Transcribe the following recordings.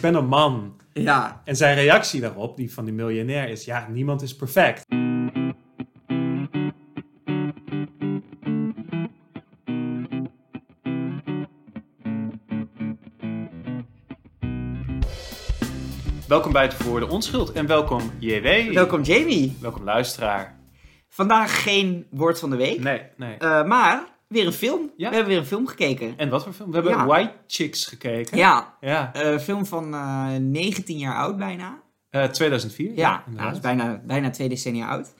ben een man. Ja, En zijn reactie daarop, die van die miljonair, is: ja, niemand is perfect. Welkom bij het Voor de Onschuld en welkom JW. welkom Jamie. Welkom luisteraar. Vandaag geen woord van de week, Nee, nee. eh, maar weer een film. Ja. We hebben weer een film gekeken. En wat voor film? We hebben Ja. White Chicks gekeken. Ja, Ja. een film van eh, 19 jaar oud bijna. Eh, 2004. Ja, nou, dat inderdaad. is bijna, bijna twee decennia oud.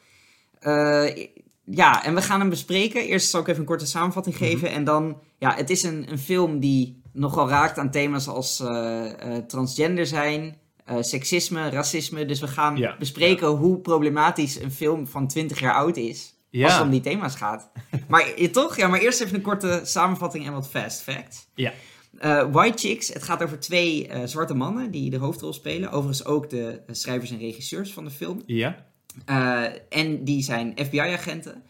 Eh, ja, en we gaan hem bespreken. Eerst zal ik even een korte samenvatting Mhm. geven. En dan, ja, het is een, een film die nogal raakt aan thema's als eh, eh, transgender zijn, eh, seksisme, racisme. Dus we gaan Ja, bespreken hoe problematisch een film van 20 jaar oud is. Ja. Als het om die thema's gaat. maar eh, toch? Ja, maar eerst even een korte samenvatting en wat fast facts. Ja. Eh, White Chicks, het gaat over twee eh, zwarte mannen die de hoofdrol spelen. Overigens ook de eh, schrijvers en regisseurs van de film. Ja. Eh, en die zijn FBI-agenten.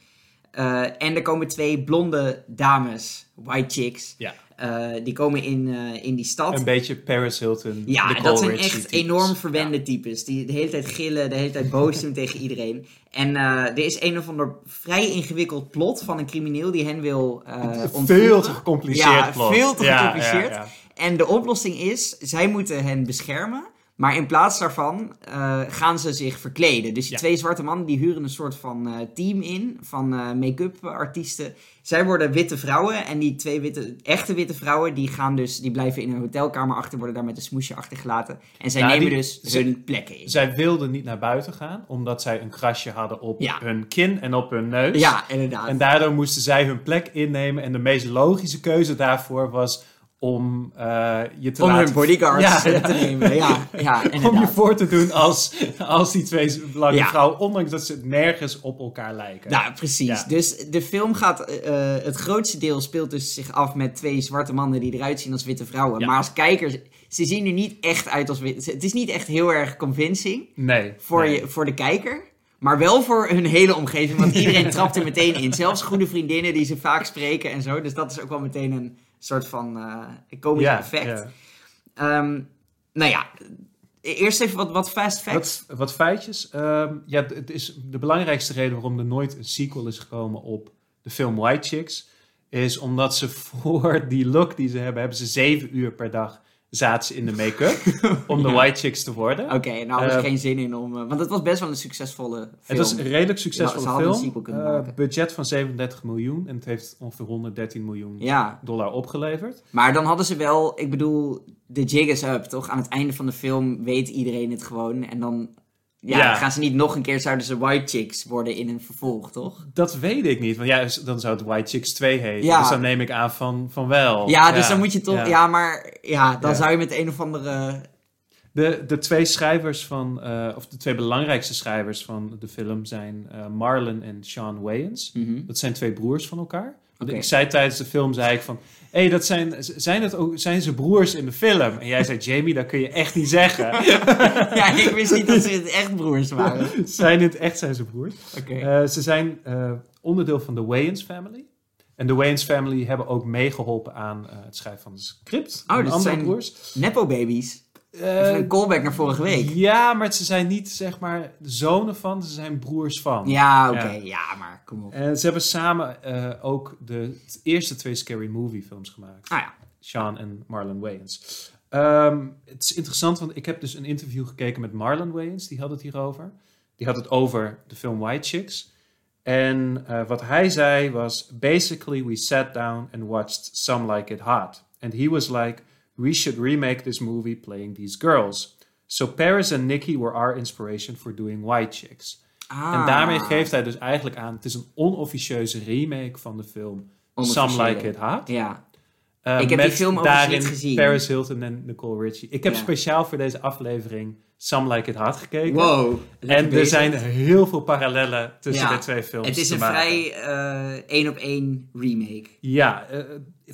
Eh, en er komen twee blonde dames, white chicks. ja. Eh, die komen in, eh, in die stad. Een beetje Paris Hilton. ja, de dat zijn Coleridge echt types. enorm verwende types. Die de hele tijd gillen, de hele tijd boos zijn tegen iedereen. En eh, er is een of ander vrij ingewikkeld plot van een crimineel die hen wil eh Veel ontvoeren. te gecompliceerd. Ja, plot. veel te Ja, gecompliceerd. ja, ja. En de oplossing is, zij moeten hen beschermen. Maar in plaats daarvan eh, gaan ze zich verkleden. Dus die Ja. twee zwarte mannen die huren een soort van eh, team in van eh, make-up artiesten. Zij worden witte vrouwen en die twee witte, echte witte vrouwen die gaan dus, die blijven in een hotelkamer achter, worden daar met een smoesje achtergelaten. En zij Ja, nemen die- dus ze- hun plekken in. Zij wilden niet naar buiten gaan, omdat zij een krasje hadden op Ja. hun kin en op hun neus. Ja, inderdaad. En daardoor moesten zij hun plek innemen. En de meest logische keuze daarvoor was om eh, je te Om laten... hun bodyguards Ja, eh, te nemen. Ja, ja om je inderdaad. voor te doen als, als die twee blanke Ja. vrouwen, ondanks dat ze nergens op elkaar lijken. Nou, precies. Ja. Dus de film gaat, eh, eh, het grootste deel speelt dus zich af met twee zwarte mannen die eruit zien als witte vrouwen. Ja. Maar als kijkers, ze zien er niet echt uit als witte. Het is niet echt heel erg convincing nee. voor, nee. je, voor de kijker. Maar wel voor hun hele omgeving, want iedereen trapt er meteen in. Zelfs goede vriendinnen die ze vaak spreken en zo. Dus dat is ook wel meteen een soort van eh komisch Ja, effect. ja. Ehm, nou ja, e-, eerst even wat, wat fast facts. Wat, wat feitjes. Ehm, ja, d- het is de belangrijkste reden waarom er nooit een sequel is gekomen op de film White Chicks. Is omdat ze voor die look die ze hebben, hebben ze zeven uur per dag zaten ze in de make-up. om de White Chicks te worden. Oké, nou hadden ze Eh, geen zin in om... eh, want het was best wel een succesvolle film. Het was een redelijk Ja, ze succesvolle hadden een sequel film. kunnen Eh, maken. budget van 37 miljoen. En het heeft ongeveer 113 miljoen Ja, dollar opgeleverd. maar dan hadden ze wel, ik bedoel, de jig is up, toch? Aan het einde van de film weet iedereen het gewoon. En dan ja, Ja. gaan ze niet nog een keer, zouden ze white chicks worden in een vervolg, toch? Dat weet ik niet. Want ja, s- dan zou het White Chicks 2 heten. Ja. Dus dan neem ik aan van, van wel. ja, dus dan moet je toch, ja, maar ja, dan Oh, Ja. zou je met een of andere... De, de twee schrijvers van, eh, of de twee belangrijkste schrijvers van de film zijn eh, Marlon en Sean Wayans. Mhm. Dat zijn twee broers van elkaar. Want Oké. Ik zei tijdens de film, zei ik van, hé, hey, dat zijn, zijn, het ook, zijn ze broers in de film? En jij zei, Jamie, dat kun je echt niet zeggen. ja, ik wist niet dat ze het echt broers waren. Oké. zijn het echt, zijn ze broers? Eh, ze zijn eh, onderdeel van de Wayans family. En de Wayans family hebben ook meegeholpen aan eh, het schrijven van het script. Oh, En dat andere zijn- broers. Nepo-babies. Eh, Even een callback naar vorige week. Ja, maar ze zijn niet zeg maar zonen van, ze zijn broers van. Ja, oké, Ja. ja, maar kom op. En ze hebben samen eh, ook de t- eerste twee Scary Movie films gemaakt. Ah ja, Sean en Marlon Wayans. Ehm, het is interessant, want ik heb dus een interview gekeken met Marlon Wayans. Die had het hierover. Die had het over de film White Chicks. En eh, wat hij zei was... Basically, we sat down and watched Some Like It Hot. And he was like, we should remake this movie playing these girls. So Paris and Nikki were our inspiration for doing White Chicks. En Ah. daarmee geeft hij dus eigenlijk aan... Het is een onofficieuze remake van de film Some Onofficiële. Like It Hot. Ja, Eh, Ik heb met die film overigens daarin niet gezien. Paris Hilton en Nicole Richie. Ik heb Ja. speciaal voor deze aflevering Some Like It Hot gekeken. wow. lekker En er bezig. zijn heel veel parallellen tussen Ja, de twee films. Het is te een maken. vrij eh, één op één remake. Ja, eh,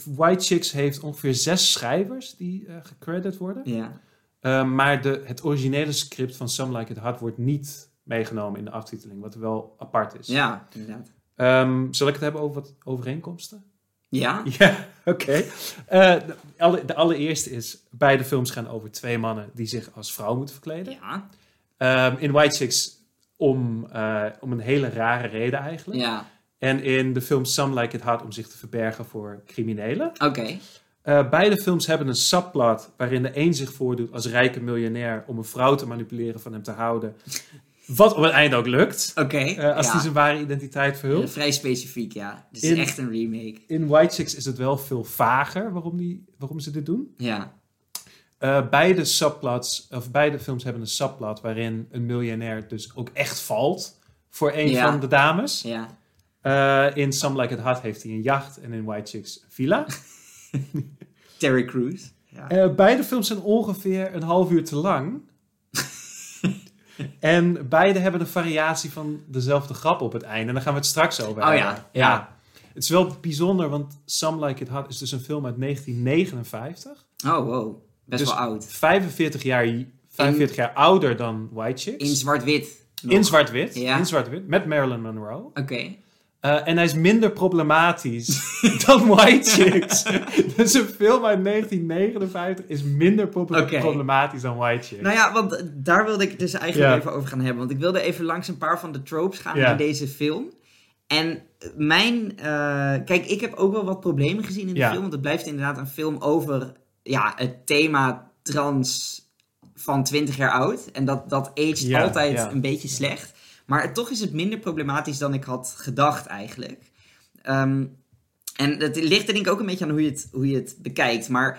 White Chicks heeft ongeveer zes schrijvers die eh, gecredit worden. Ja. Eh, maar de, het originele script van Some Like It Hot wordt niet meegenomen in de aftiteling, wat wel apart is. ja, inderdaad. Ehm, zal ik het hebben over wat overeenkomsten? Ja? Ja, oké. Eh, de, alle- de allereerste is, beide films gaan over twee mannen die zich als vrouw moeten verkleden. Ja. Ehm, in White Chicks om, eh, om een hele rare reden eigenlijk. Ja. En in de film Some Like It Hot om zich te verbergen voor criminelen. Oké. Eh, beide films hebben een subplot waarin de een zich voordoet als rijke miljonair om een vrouw te manipuleren van hem te houden. Wat op het einde ook lukt, Oké. eh, als ja. hij zijn ware identiteit Ja, verhult. Vrij specifiek, ja. Dit In- is echt een remake. In White Chicks is het wel veel vager waarom, die, waarom ze dit doen. Ja. Eh, beide, subplots, of beide films hebben een subplot waarin een miljonair dus ook echt valt voor een Ja. van de dames. Ja. Eh, in Some Like It Hot heeft hij een jacht en in White Chicks een villa. Terry Crews. Ja. Eh, beide films zijn ongeveer een half uur te lang. en beide hebben een variatie van dezelfde grap op het einde. En daar gaan we het straks over Oh ja, hebben. ja. Het is wel bijzonder, want Some Like It Hot is dus een film uit 1959. Oh, wow. Best Dus wel oud. 45 jaar, 45 jaar ouder dan White Chicks. In zwart-wit. nog. In zwart-wit. Ja. In zwart-wit. Met Marilyn Monroe. Oké. Eh, en hij is minder problematisch dan White Chicks. dus een film uit 1959 is minder proble- Oké. problematisch dan White Chicks. Nou ja, want eh, daar wilde ik het dus eigenlijk Ja. even over gaan hebben. Want ik wilde even langs een paar van de tropes gaan Ja. in deze film. En mijn... eh, kijk, ik heb ook wel wat problemen gezien in de Ja. film. Want het blijft inderdaad een film over ja, het thema trans van 20 jaar oud. En dat, dat aged Ja, altijd ja. een beetje slecht. Maar het- toch is het minder problematisch dan ik had gedacht eigenlijk. Ehm, en dat ligt er denk ik ook een beetje aan hoe je het, hoe je het bekijkt. Maar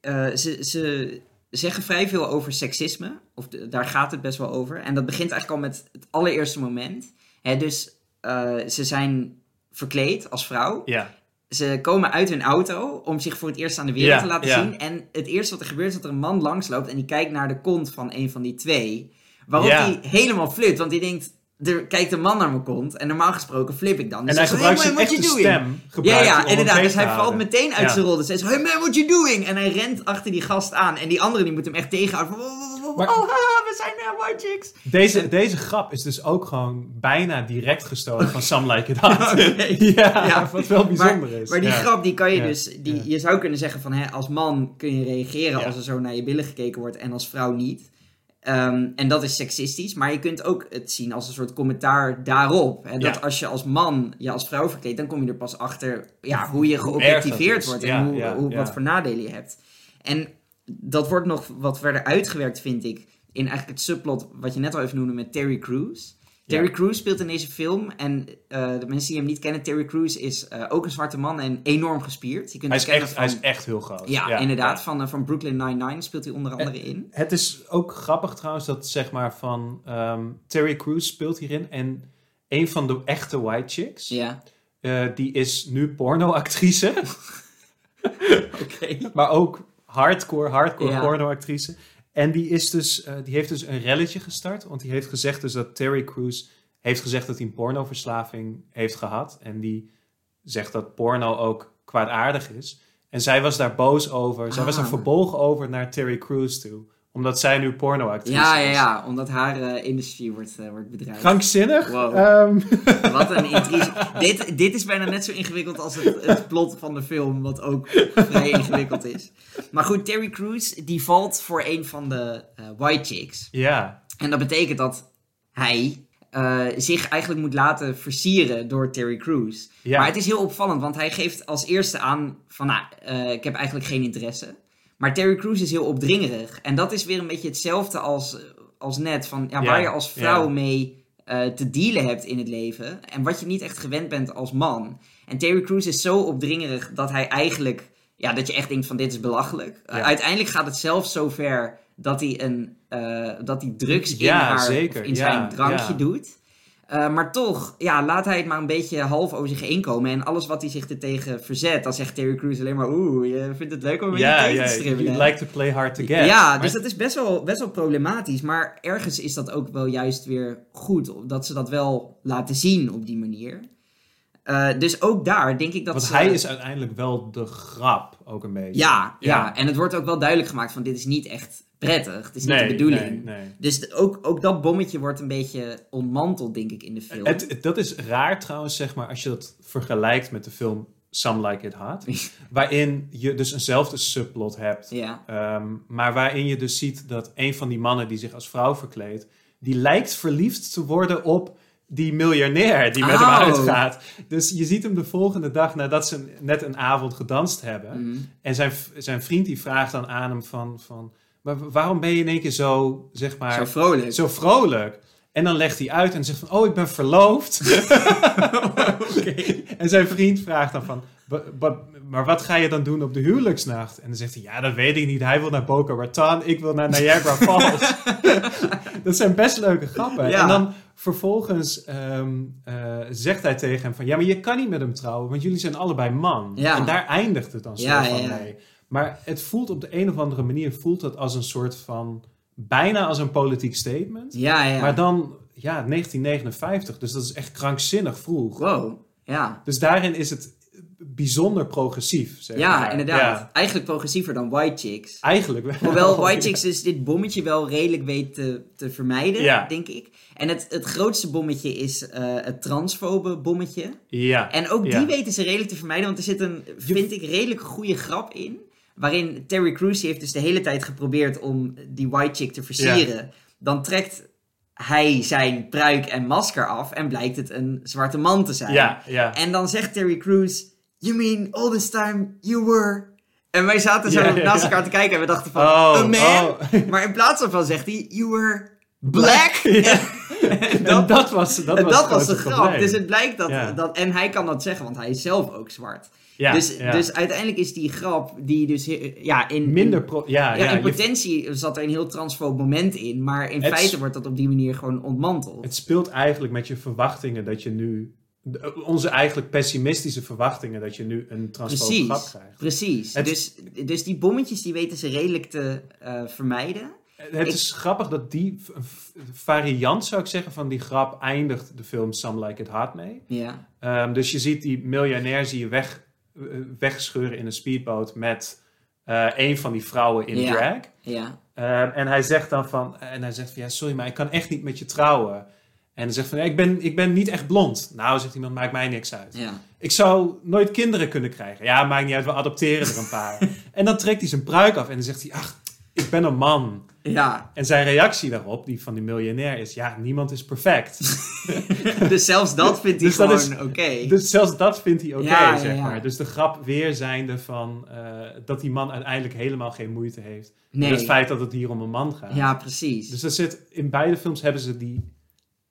eh, ze, ze zeggen vrij veel over seksisme. Of de- daar gaat het best wel over. En dat begint eigenlijk al met het allereerste moment. Hè, dus eh, ze zijn verkleed als vrouw. Ja, Ze komen uit hun auto om zich voor het eerst aan de wereld Ja, te laten ja. zien. En het eerste wat er gebeurt is dat er een man langsloopt en die kijkt naar de kont van een van die twee. Waarop Ja. hij helemaal flipt, want die denkt, er kijkt een man naar mijn kont. En normaal gesproken flip ik dan. Dus en hij zegt, gebruikt "Hey, zijn man, what echte you doing?" stem. Ja, gebruikt hij om ja, hem inderdaad. tegen Dus te hij valt houden. meteen uit Ja. zijn rol. Dus hij zegt, hey man, what you doing? En hij rent achter die gast aan. En die andere die moet hem echt tegenhouden. Van, "Wow, wow, wow, wow, Maar- oh, haha, we zijn daar, white chicks. Deze, deze grap is dus ook gewoon bijna direct gestolen van Some Like It Hot. Oké. ja, Oh, Ja. wat wel bijzonder maar, is. Maar die Ja. grap, die kan je Ja. dus... Die, Ja. Je zou kunnen zeggen van, hè, als man kun je reageren Ja. als er zo naar je billen gekeken wordt. En als vrouw niet. Ehm, en dat is seksistisch. Maar je kunt ook het zien als een soort commentaar daarop. Hè, dat Ja. als je als man je als vrouw verkleedt, dan kom je er pas achter ja, hoe je erg dat geobjectiveerd is. wordt. En Ja, hoe, ja, hoe, ja. wat voor nadelen je hebt. En dat wordt nog wat verder uitgewerkt, vind ik. In eigenlijk het subplot wat je net al even noemde met Terry Crews. Terry Crews speelt in deze film. En eh, de mensen die hem niet kennen, Terry Crews is eh, ook een zwarte man en enorm gespierd. Je kunt hij, hem is kennen echt, hij is echt heel groot. ja, inderdaad. ja. Eh. Van, eh, van Brooklyn Nine-Nine speelt hij onder andere in. Het is ook grappig trouwens dat zeg maar van ehm, Terry Crews speelt hierin en een van de echte white chicks, Ja, eh, die is nu pornoactrice, oké. maar ook hardcore, hardcore Ja. pornoactrice. En die, is dus, eh, die heeft dus een relletje gestart, want die heeft gezegd dus dat Terry Crews heeft gezegd dat hij een pornoverslaving heeft gehad en die zegt dat porno ook kwaadaardig is. En zij was daar boos over, zij was er Ah. verbolgen over naar Terry Crews toe, omdat zij nu pornoactrice Ja, ja, is. ja. Omdat haar eh, industrie wordt, eh, wordt bedreigd. Krankzinnig. Wow. Ehm, Wat een intrige. dit, dit is bijna net zo ingewikkeld als het, het plot van de film, wat ook vrij ingewikkeld is. Maar goed, Terry Crews, die valt voor een van de eh, white chicks. ja, En dat betekent dat hij eh, zich eigenlijk moet laten versieren door Terry Crews. Ja. Maar het is heel opvallend, want hij geeft als eerste aan van, nou, eh, ik heb eigenlijk geen interesse. Maar Terry Crews is heel opdringerig. En dat is weer een beetje hetzelfde als, als net, van ja, Ja, waar je als vrouw ja. mee eh, te dealen hebt in het leven. En wat je niet echt gewend bent als man. En Terry Crews is zo opdringerig dat hij eigenlijk, ja, dat je echt denkt van dit is belachelijk. Eh, Ja. uiteindelijk gaat het zelfs zover dat hij een, eh, dat hij drugs Ja, in, haar, zeker. of in Ja, zijn drankje ja. doet. Eh, maar toch, ja, laat hij het maar een beetje half over zich heen komen. En alles wat hij zich ertegen verzet, dan zegt Terry Crews alleen maar... Oeh, je vindt het leuk om in je ja, tegen ja. te stribbelen. You like to play hard to get. ja, Maar- dus dat is best wel, best wel problematisch. Maar ergens is dat ook wel juist weer goed. Dat ze dat wel laten zien op die manier. Eh, dus ook daar denk ik dat want ze... hij is uiteindelijk wel de grap ook een beetje. Ja, ja. Ja. en het wordt ook wel duidelijk gemaakt van dit is niet echt prettig. Het is niet de bedoeling. Nee, nee. Dus de- ook, ook dat bommetje wordt een beetje ontmanteld, denk ik, in de film. Het, het- dat is raar trouwens, zeg maar, als je dat vergelijkt met de film Some Like It Hot. waarin je dus eenzelfde subplot hebt. Ja. Ehm, maar waarin je dus ziet dat een van die mannen die zich als vrouw verkleedt, die lijkt verliefd te worden op die miljonair die met Oh. hem uitgaat. Dus je ziet hem de volgende dag nadat ze net een avond gedanst hebben. Mhm. En zijn, v- zijn vriend die vraagt dan aan hem van, van maar wa- waarom ben je in één keer zo, zeg maar, Zo zo, vrolijk. vrolijk? En dan legt hij uit en zegt van, oh, ik ben verloofd. En zijn vriend vraagt dan van, "Wa- wa- maar wat ga je dan doen op de huwelijksnacht? En dan zegt hij, ja, dat weet ik niet. Hij wil naar Boca Raton, ik wil naar Niagara Falls. dat zijn best leuke grappen. Ja. En dan vervolgens ehm, eh, zegt hij tegen hem van, ja, maar je kan niet met hem trouwen, want jullie zijn allebei man. Ja. En daar eindigt het dan soort Ja, van ja, ja. mee. Maar het voelt op de een of andere manier, voelt dat als een soort van, bijna als een politiek statement. Ja, ja. Maar dan, ja, 1959, dus dat is echt krankzinnig vroeg. Wow. Ja. Dus daarin is het bijzonder progressief. Zeg Ja, maar. inderdaad. Ja, Eigenlijk progressiever dan White Chicks. eigenlijk wel. Hoewel White Chicks dus dit bommetje wel redelijk weet te, te vermijden, Ja. denk ik. En het, het grootste bommetje is eh, het transfobe bommetje. Ja. En ook die Ja. weten ze redelijk te vermijden, want er zit een, vind ik, redelijk goede grap in. Waarin Terry Crews die heeft dus de hele tijd geprobeerd om die white chick te versieren. Dan trekt hij zijn pruik en masker af en blijkt het een zwarte man te zijn. Ja, ja. En dan zegt Terry Crews, you mean all this time you were... En wij zaten zo Ja, ja, ja. naast elkaar te kijken en we dachten van, Oh, a man? oh. Maar in plaats daarvan zegt hij, you were black. En dat, was, dat En was, dat het was grote de grap. probleem. Dus het blijkt dat, Ja. dat. En hij kan dat zeggen, want hij is zelf ook zwart. Ja, dus, ja. dus uiteindelijk is die grap, die dus. he- Ja, in, Minder in- pro... Ja, ja, ja, in je- potentie zat er een heel transfoob moment in. Maar in Het- feite wordt dat op die manier gewoon ontmanteld. het speelt eigenlijk met je verwachtingen dat je nu... Onze eigenlijk pessimistische verwachtingen dat je nu een transfobe grap Precies. krijgt. Precies. Het- Dus, dus die bommetjes die weten ze redelijk te eh, vermijden. Het Ik- is grappig dat die v- v- variant, zou ik zeggen, van die grap eindigt de film Some Like It Hot mee. Ja. Ehm, dus je ziet die miljonair zie je weg, eh, wegscheuren in een speedboot met eh, een van die vrouwen in Ja. drag. Ja. Ehm, en hij zegt dan van, en hij zegt van, ja sorry, maar ik kan echt niet met je trouwen. En hij zegt van, ja, ik ben, ik ben niet echt blond. Nou, zegt iemand, maakt mij niks uit. Ja. Ik zou nooit kinderen kunnen krijgen. Ja, maakt niet uit, we adopteren er een paar. en dan trekt hij zijn pruik af en dan zegt hij, ach, ik ben een man. ja. En zijn reactie daarop, die van die miljonair, is, ja, niemand is perfect. Dus zelfs dat vindt hij Dus dat is- gewoon oké. Dus zelfs dat vindt hij oké, Ja, ja, zeg ja. maar. Dus de grap weer zijnde van eh, dat die man uiteindelijk helemaal geen moeite heeft. Nee. Met het feit dat het hier om een man gaat. Ja, precies. Dus er zit, in beide films hebben ze die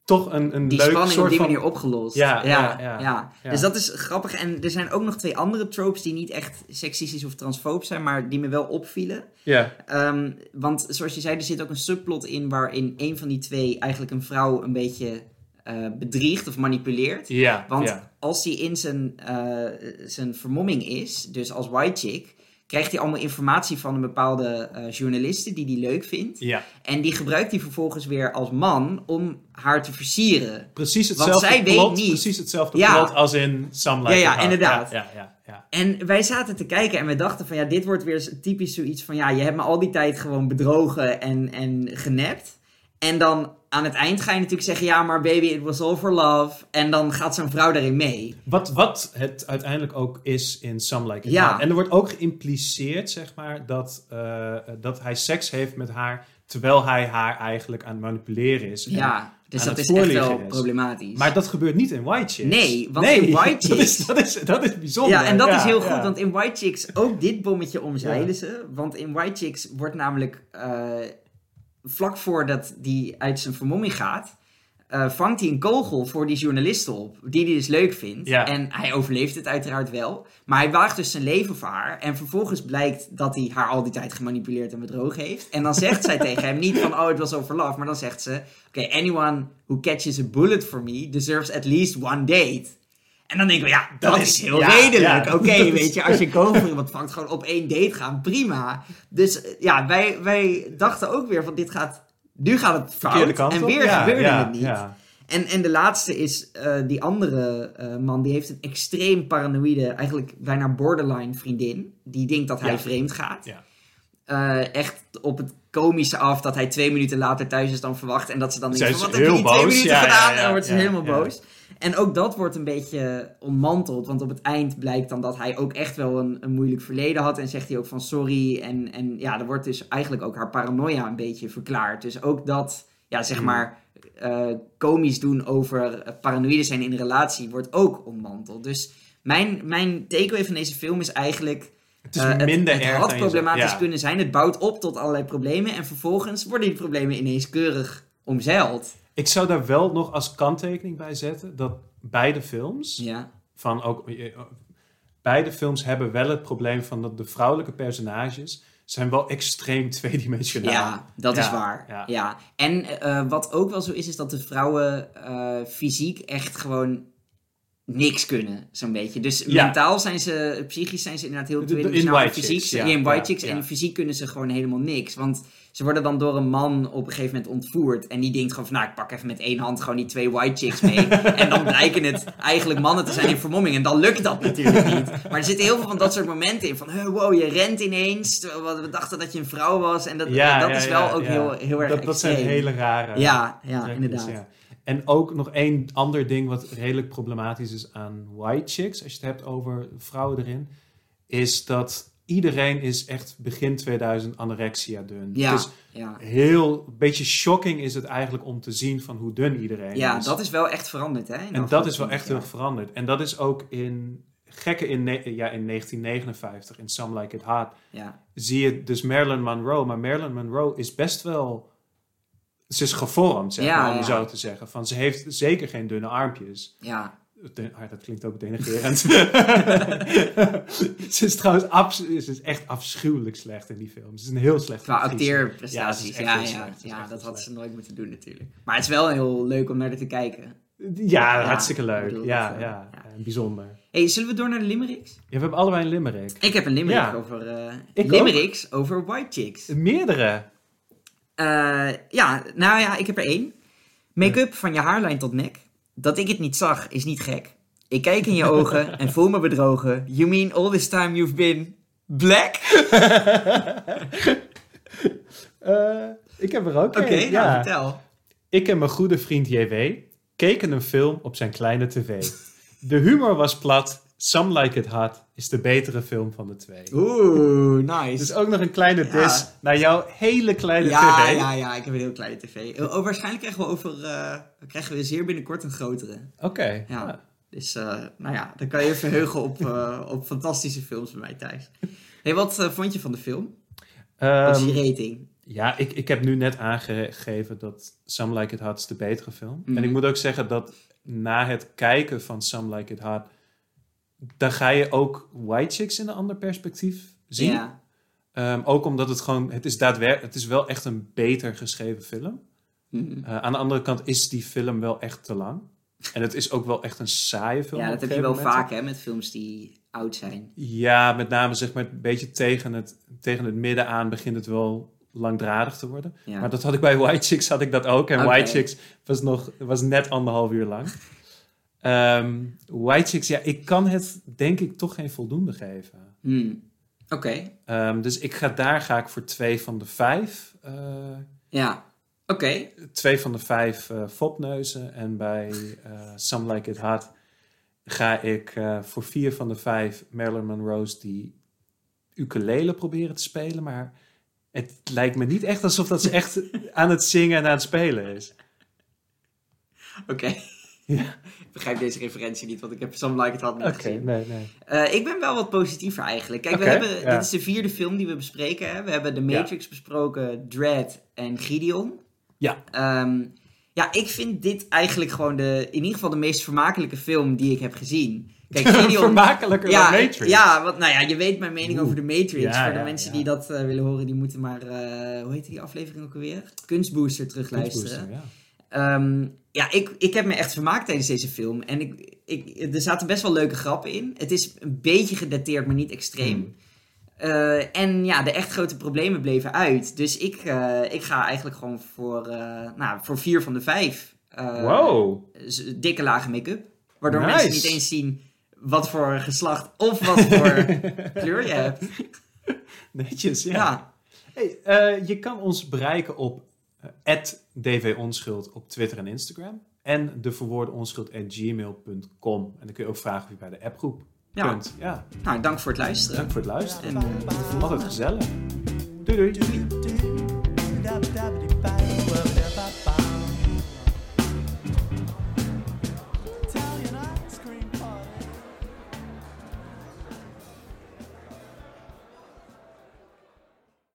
toch een, een die leuk spanning soort op die van... manier opgelost. Ja, ja, ja, ja, ja. ja. Dus dat is grappig. En er zijn ook nog twee andere tropes die niet echt seksistisch of transfoob zijn, maar die me wel opvielen. Ja, Ehm, want zoals je zei, er zit ook een subplot in waarin een van die twee eigenlijk een vrouw een beetje eh, bedriegt of manipuleert. ja, Want ja. als hij in zijn, eh, zijn vermomming is, dus als white chick, krijgt hij allemaal informatie van een bepaalde eh, journaliste die hij leuk vindt. ja. En die gebruikt hij vervolgens weer als man om haar te versieren. Precies Want hetzelfde zij weet plot, niet. precies hetzelfde Ja. plot als in Sam Like Ja, ja, It Hot. inderdaad. Ja, ja, ja. En wij zaten te kijken en we dachten van ja, dit wordt weer zo- typisch zoiets van ja, je hebt me al die tijd gewoon bedrogen en, en genept. En dan aan het eind ga je natuurlijk zeggen ja, maar baby, it was all for love. En dan gaat zo'n vrouw daarin mee. Wat, wat het uiteindelijk ook is in Some Like It Ja. Hot. En er wordt ook geïmpliceerd, zeg maar, dat, eh, dat hij seks heeft met haar... terwijl hij haar eigenlijk aan het manipuleren is. En Ja, dus aan dat het is echt wel voorliegen is. problematisch. Maar dat gebeurt niet in White Chicks. Nee, want in White dat is, Chicks- dat, is, dat is bijzonder. ja, en dat is heel goed, ja. want in White Chicks ook dit bommetje omzeilen ze. Want in White Chicks wordt namelijk eh, vlak voordat die uit zijn vermomming gaat, eh, vangt hij een kogel voor die journalisten op, die hij dus leuk vindt. Ja. En hij overleeft het uiteraard wel, maar hij waagt dus zijn leven voor haar. En vervolgens blijkt dat hij haar al die tijd gemanipuleerd en bedrogen heeft. En dan zegt zij tegen hem niet van, oh, het was over love, maar dan zegt ze, oké, anyone who catches a bullet for me deserves at least one date. En dan denken we, ja, dat, Dat is is- heel ja, redelijk. ja. Oké, weet je, als je koper iemand vangt, gewoon op één date gaan, prima. Dus eh, ja, wij, wij dachten ook weer van dit gaat, nu gaat het Verkeerde fout. kant En op. weer Ja, gebeurde ja, het niet. ja. En, en de laatste is eh, die andere eh, man, die heeft een extreem paranoïde, eigenlijk bijna borderline vriendin. Die denkt dat hij Ja. vreemd gaat. Ja. Eh, echt op het komische af dat hij twee minuten later thuis is dan verwacht. En dat ze dan Zij denkt, van, is wat heb je heel in twee boos. minuten Ja, ja, gedaan? ja, en dan wordt ze ja, helemaal ja. boos. En ook dat wordt een beetje ontmanteld. Want op het eind blijkt dan dat hij ook echt wel een, een moeilijk verleden had. En zegt hij ook van sorry. En, en ja, er wordt dus eigenlijk ook haar paranoia een beetje verklaard. Dus ook dat, ja, Hmm. zeg maar, eh komisch doen over eh, paranoïde zijn in een relatie wordt ook ontmanteld. Dus mijn, mijn takeaway van deze film is eigenlijk... Het is eh, minder het, erg had dan je problematisch zegt. Ja. kunnen zijn. Het bouwt op tot allerlei problemen. En vervolgens worden die problemen ineens keurig omzeild. Ik zou daar wel nog als kanttekening bij zetten dat beide films, Ja, van ook, eh, beide films hebben wel het probleem van dat de vrouwelijke personages zijn wel extreem tweedimensionaal. ja dat is Ja, waar. Ja. ja. En eh, wat ook wel zo is, is dat de vrouwen eh, fysiek echt gewoon niks kunnen, zo'n beetje. Dus Ja. mentaal zijn ze, psychisch zijn ze inderdaad heel De- de- in tweedimensionaal. White fysiek, Chicks, ja, in White ja, Chicks. ja. En fysiek kunnen ze gewoon helemaal niks. Want ze worden dan door een man op een gegeven moment ontvoerd. En die denkt gewoon van, nou, ik pak even met één hand gewoon die twee White Chicks mee. en dan blijken het eigenlijk mannen te zijn in vermomming. En dan lukt dat natuurlijk niet. Maar er zitten heel veel van dat soort momenten in. Van, huh, wow, je rent ineens. terwijl We dachten dat je een vrouw was. En dat, Ja, dat ja, is wel ja, ook ja. heel, heel erg Dat, dat zijn extreem. hele rare. Ja, ja, trekjes, inderdaad. ja. En ook nog één ander ding wat redelijk problematisch is aan white chicks, als je het hebt over vrouwen erin, is dat iedereen is echt begin 2000 anorexia dun. Ja, Dus ja. heel, een beetje shocking is het eigenlijk om te zien van hoe dun iedereen ja, is. dat is wel echt veranderd, hè? in de dus- en dat afgelopen is wel echt heel 20 jaar. erg veranderd. En dat is ook in gekke in, ne- ja, in 1959 in Some Like It Hot Ja, zie je dus Marilyn Monroe. Maar Marilyn Monroe is best wel. Ze is gevormd, zeg Ja, maar, om ja. zo te zeggen. Van, ze heeft zeker geen dunne armpjes. ja. De- ah, dat klinkt ook denigrerend. ze is trouwens abs- ze is echt afschuwelijk slecht in die film. Ze is een heel slecht Qua acteerprestaties, ja, Ja, ja, ze is echt heel ja, slecht. Ze is echt dat heel had ze nooit moeten doen natuurlijk. Maar het is wel heel leuk om naar te kijken. Ja, Ja, hartstikke ik leuk. bedoel, ja, dat, eh, ja, ja. En bijzonder. hey, zullen we door naar de limericks? Ja, we hebben allebei een limerick. Ik heb een limerick Ja. over... eh Ik limericks over White Chicks. Meerdere. Eh, ja, nou ja, ik heb er één. Make-up van je haarlijn tot nek. Dat ik het niet zag, is niet gek. Ik kijk in je ogen en voel me bedrogen. You mean all this time you've been black? Eh, ik heb er ook Oké, een. nou ja. vertel. Ik en mijn goede vriend JW keken een film op zijn kleine tv. De humor was plat. Some Like It Hot is de betere film van de twee. Oeh, nice. Dus ook nog een kleine Ja. dis naar jouw hele kleine ja, tv. ja, ja, ik heb een heel kleine tv. Oh, waarschijnlijk krijgen we, over, eh, krijgen we zeer binnenkort een grotere. Oké. Ja. ja. Dus eh, nou ja, dan kan je verheugen op, eh, op fantastische films bij mij thuis. Hey, wat eh, vond je van de film? Wat is Ehm, je rating? ja, ik, ik heb nu net aangegeven dat Some Like It Hot is de betere film. Mhm. En ik moet ook zeggen dat na het kijken van Some Like It Hot... dan ga je ook White Chicks in een ander perspectief zien. Ja, Ehm, ook omdat het gewoon, het is daadwerkelijk, het is wel echt een beter geschreven film. Mhm. Eh, aan de andere kant is die film wel echt te lang. En het is ook wel echt een saaie film. ja op dat een heb je wel gegeven moment. vaak hè, met films die oud zijn. Ja, met name zeg maar een beetje tegen het, tegen het midden aan begint het wel langdradig te worden. Ja. Maar dat had ik bij White Chicks had ik dat ook. En Oké. White Chicks was, nog, was net anderhalf uur lang. Ehm, White Chicks, ja, ik kan het denk ik toch geen voldoende geven. Hmm. Oké, Ehm, dus ik ga, daar ga ik voor twee van de vijf. eh, ja. Oké, twee van de vijf eh, fopneuzen. En bij eh, Some Like It Hot ga ik eh, voor vier van de vijf Marilyn Monroe's die ukulele proberen te spelen. Maar het lijkt me niet echt alsof dat ze echt aan het zingen en aan het spelen is. oké. Ik begrijp deze referentie niet, want ik heb Some Like It Hot niet gezien. nee, nee. Eh, ik ben wel wat positiever eigenlijk. Kijk, Oké, we hebben, ja. dit is de vierde film die we bespreken. Hè? We hebben The Matrix besproken, Dread en Gideon. Ja. Ehm, ja, ik vind dit eigenlijk gewoon de, in ieder geval de meest vermakelijke film die ik heb gezien. Kijk, Gideon... Vermakelijker Ja, dan Matrix. ja, want nou ja, je weet mijn mening Oeh. over de Matrix. Ja, Voor de ja, mensen ja. die dat eh, willen horen, die moeten maar, eh, hoe heet die aflevering ook alweer? Kunstbooster terugluisteren. Booster, ja. Ehm, ja, ik, ik heb me echt vermaakt tijdens deze film. En ik, ik, er zaten best wel leuke grappen in. Het is een beetje gedateerd, maar niet extreem. Hmm. Eh, en ja, de echt grote problemen bleven uit. Dus ik, eh, ik ga eigenlijk gewoon voor, eh, nou, voor vier van de vijf. Eh, wow. z- Dikke lage make-up. Waardoor Nice. mensen niet eens zien wat voor geslacht of wat voor kleur je hebt. Netjes, ja. Ja, Hey, eh, je kan ons bereiken op eh, @dvonschuld op Twitter en Instagram. en de verwoorde onschuld at gmail.com. En dan kun je ook vragen of je bij de appgroep Ja. kunt. Ja, Nou, dank voor het luisteren. dank voor het luisteren. En Altijd gezellig. Doei doei. doei.